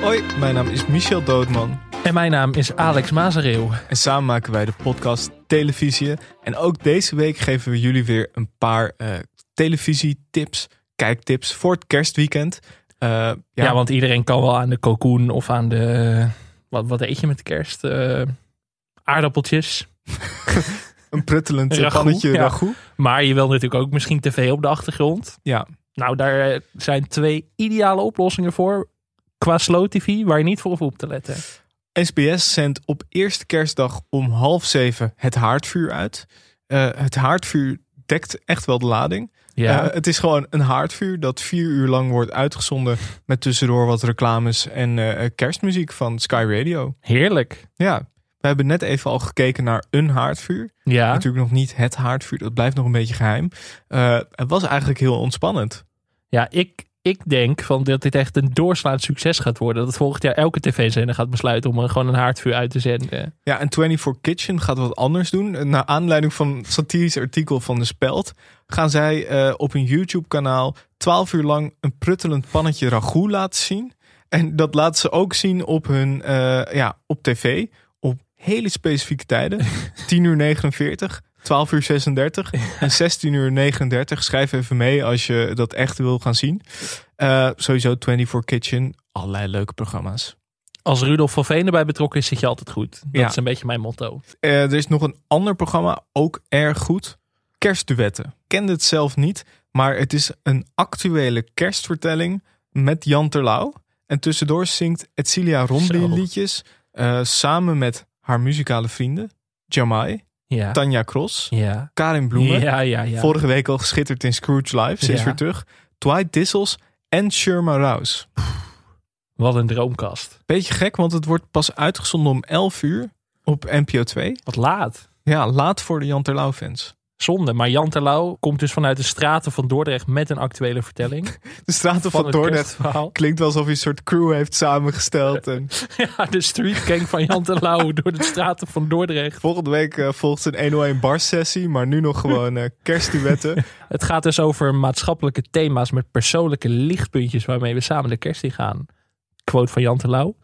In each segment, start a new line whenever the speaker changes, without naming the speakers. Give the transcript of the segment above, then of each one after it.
Hoi, mijn naam is Michel Doodman.
En mijn naam is Alex Mazereeuw.
En samen maken wij de podcast Televisie. En ook deze week geven we jullie weer een paar eh, televisietips, kijktips voor het kerstweekend. Eh,
Ja. want iedereen kan wel aan de cocoon of aan de... Wat, wat eet je met kerst? Eh, aardappeltjes.
een pruttelend eh,
Ragout,
pannetje
ja.
ragout.
Maar je wil natuurlijk ook misschien tv op de achtergrond.
Ja.
Nou, daar eh, zijn twee ideale oplossingen voor. Qua slow tv, waar je niet voor hoeft op te letten.
SBS zendt op eerste kerstdag om half zeven het haardvuur uit. Eh, het haardvuur dekt echt wel de lading.
Ja,
Eh, het is gewoon een haardvuur dat vier uur lang wordt uitgezonden. Met tussendoor wat reclames en eh, kerstmuziek van Sky Radio.
heerlijk.
Ja, we hebben net even al gekeken naar een haardvuur.
Ja,
Natuurlijk nog niet het haardvuur, dat blijft nog een beetje geheim. Eh, het was eigenlijk heel ontspannend.
ja ik, ik denk van dat dit echt een doorslaand succes gaat worden. Dat volgend jaar elke tv-zender gaat besluiten om er gewoon een haardvuur uit te zenden.
Ja, en 24 Kitchen gaat wat anders doen. Eh, Naar aanleiding van een satirisch artikel van De Speld... gaan zij eh, op hun YouTube-kanaal 12 uur lang een pruttelend pannetje ragout laten zien. En dat laten ze ook zien op hun, eh, ja, op tv. Op hele specifieke tijden. 10 uur 49, 12 uur 36 en 16 uur 39. Schrijf even mee als je dat echt wil gaan zien. Eh, sowieso 24 Kitchen, allerlei leuke programma's.
Als Rudolf van Veen erbij betrokken is, zit je altijd goed. Dat
Ja.
is een beetje mijn motto.
Eh, er is nog een ander programma, ook erg goed. Kerstduetten. Ik kende het zelf niet, maar het is een actuele kerstvertelling met Jan Terlouw. En tussendoor zingt Etcilia Rombly
Zo.
liedjes eh, samen met haar muzikale vrienden. Jamai,
Ja.
Tanja Cross,
Ja.
Karin Bloemen.
Ja, ja, ja.
Vorige week al geschitterd in Scrooge Live, ze is
Ja.
weer terug. Dwight Dissels en Sherma Rouse.
Wat een droomkast.
Beetje gek, want het wordt pas uitgezonden om 11 uur op NPO 2.
Wat laat.
Ja, laat voor de Jan Terlouw fans.
Zonde. Maar Jan Terlouw komt dus vanuit de straten van Dordrecht met een actuele vertelling.
De straten van,
het
Dordrecht
kerstverhaal.
klinkt wel alsof hij een soort crew heeft samengesteld. En
Ja, de street gang van Jan Terlouw door de straten van Dordrecht.
volgende week eh, volgt een 101 bar sessie, maar nu nog gewoon eh kerstduetten.
Het gaat dus over maatschappelijke thema's met persoonlijke lichtpuntjes waarmee we samen de kerst in gaan. Quote van Jan Terlouw.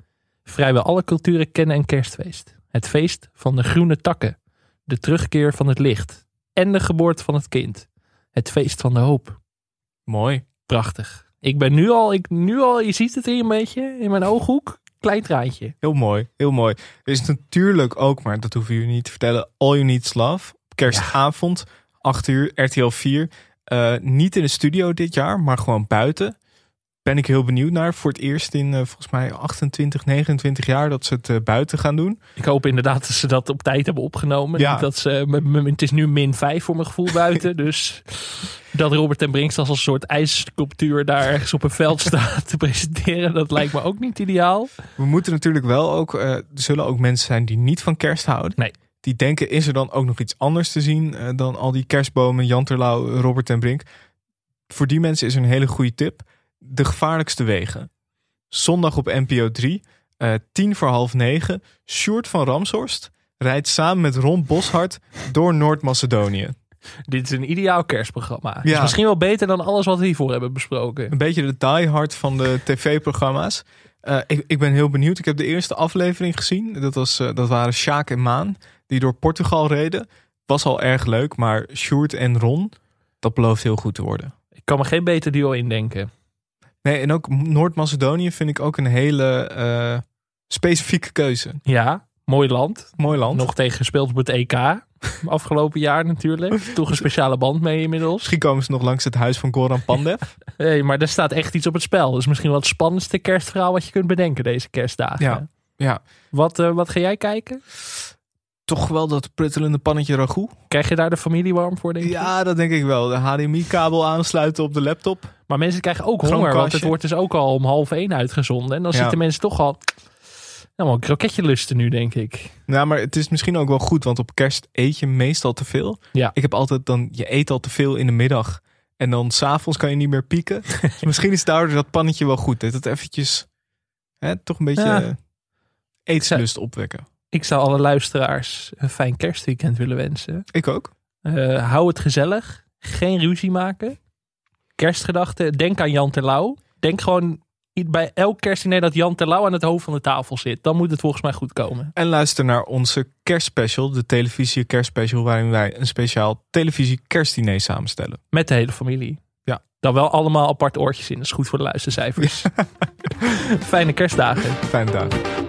Vrijwel alle culturen kennen een kerstfeest. Het feest van de groene takken. De terugkeer van het licht. En de geboorte van het kind. Het feest van de hoop.
Mooi.
Prachtig. Ik ben nu al, ik, nu al, je ziet het hier een beetje in mijn ooghoek. Klein traantje.
Heel mooi, heel mooi. Er is natuurlijk ook, maar dat hoeven jullie niet te vertellen, All You Need Is Love. Op Kerstavond, 8 uur, RTL 4. Eh, niet in de studio dit jaar, maar gewoon buiten. Ben ik heel benieuwd naar. Voor het eerst in eh, volgens mij 28, 29 jaar dat ze het eh, buiten gaan doen.
Ik hoop inderdaad dat ze dat op tijd hebben opgenomen.
Ja.
Niet Dat ze, m- m- het is nu min 5 voor mijn gevoel buiten. dus dat Robert en Brinks als een soort ijssculptuur daar ergens op een veld staat te presenteren. Dat lijkt me ook niet ideaal.
We moeten natuurlijk wel ook, eh, er zullen ook mensen zijn die niet van kerst houden.
Nee.
Die denken, is er dan ook nog iets anders te zien eh, dan al die kerstbomen, Jan Terlouw, eh, Robert en Brink? Voor die mensen is er een hele goede tip. De gevaarlijkste wegen. Zondag op NPO 3, eh, tien voor half negen. Sjoerd van Ramshorst rijdt samen met Ron Boshart door Noord-Macedonië.
Dit is een ideaal kerstprogramma.
Ja.
Is misschien wel beter dan alles wat we hiervoor hebben besproken.
Een beetje de diehard van de tv-programma's. Eh, ik, ik ben heel benieuwd. Ik heb de eerste aflevering gezien. Dat, was, eh, dat waren Sjaak en Maan, die door Portugal reden. Was al erg leuk, maar Sjoerd en Ron, dat belooft heel goed te worden.
Ik kan me geen beter duo indenken.
Nee, en ook Noord-Macedonië vind ik ook een hele eh, specifieke keuze.
Ja, mooi land.
Mooi land.
Nog tegen gespeeld op het EK. Afgelopen jaar natuurlijk. Toch een speciale band mee inmiddels.
Misschien komen ze nog langs het huis van Goran Pandev.
Hey, maar er staat echt iets op het spel. Dat is misschien wel het spannendste kerstverhaal wat je kunt bedenken deze kerstdagen.
Ja, ja.
Wat, eh, wat ga jij kijken?
Toch wel dat pruttelende pannetje ragout?
Krijg je daar de familie warm voor, denk je?
Ja, dat denk ik wel. De HDMI-kabel aansluiten op de laptop.
Maar mensen krijgen ook
Gewoon
honger, want
kastje.
het wordt dus ook al om half één uitgezonden. En dan
Ja.
zitten mensen toch al... Nou, een kroketje lusten nu, denk ik.
Nou, maar het is misschien ook wel goed, want op kerst eet je meestal te veel.
Ja.
Ik heb altijd dan, je eet al te veel in de middag. En dan s'avonds kan je niet meer pieken. Dus misschien is daardoor dat pannetje wel goed. Dat het eventjes, hè, toch een beetje
Ja.
eh, eetlust opwekken.
Ik zou alle luisteraars een fijn kerstweekend willen wensen.
Ik ook.
Eh, hou het gezellig. Geen ruzie maken. Kerstgedachten. Denk aan Jan Terlouw. Denk gewoon bij elk kerstdiner dat Jan Terlouw aan het hoofd van de tafel zit. Dan moet het volgens mij goed komen.
En luister naar onze kerstspecial, de televisie kerstspecial, waarin wij een speciaal televisie kerstdiner samenstellen.
Met de hele familie.
Ja.
Dan wel allemaal apart oortjes in. Dat is goed voor de luistercijfers. Fijne kerstdagen.
Fijne dag.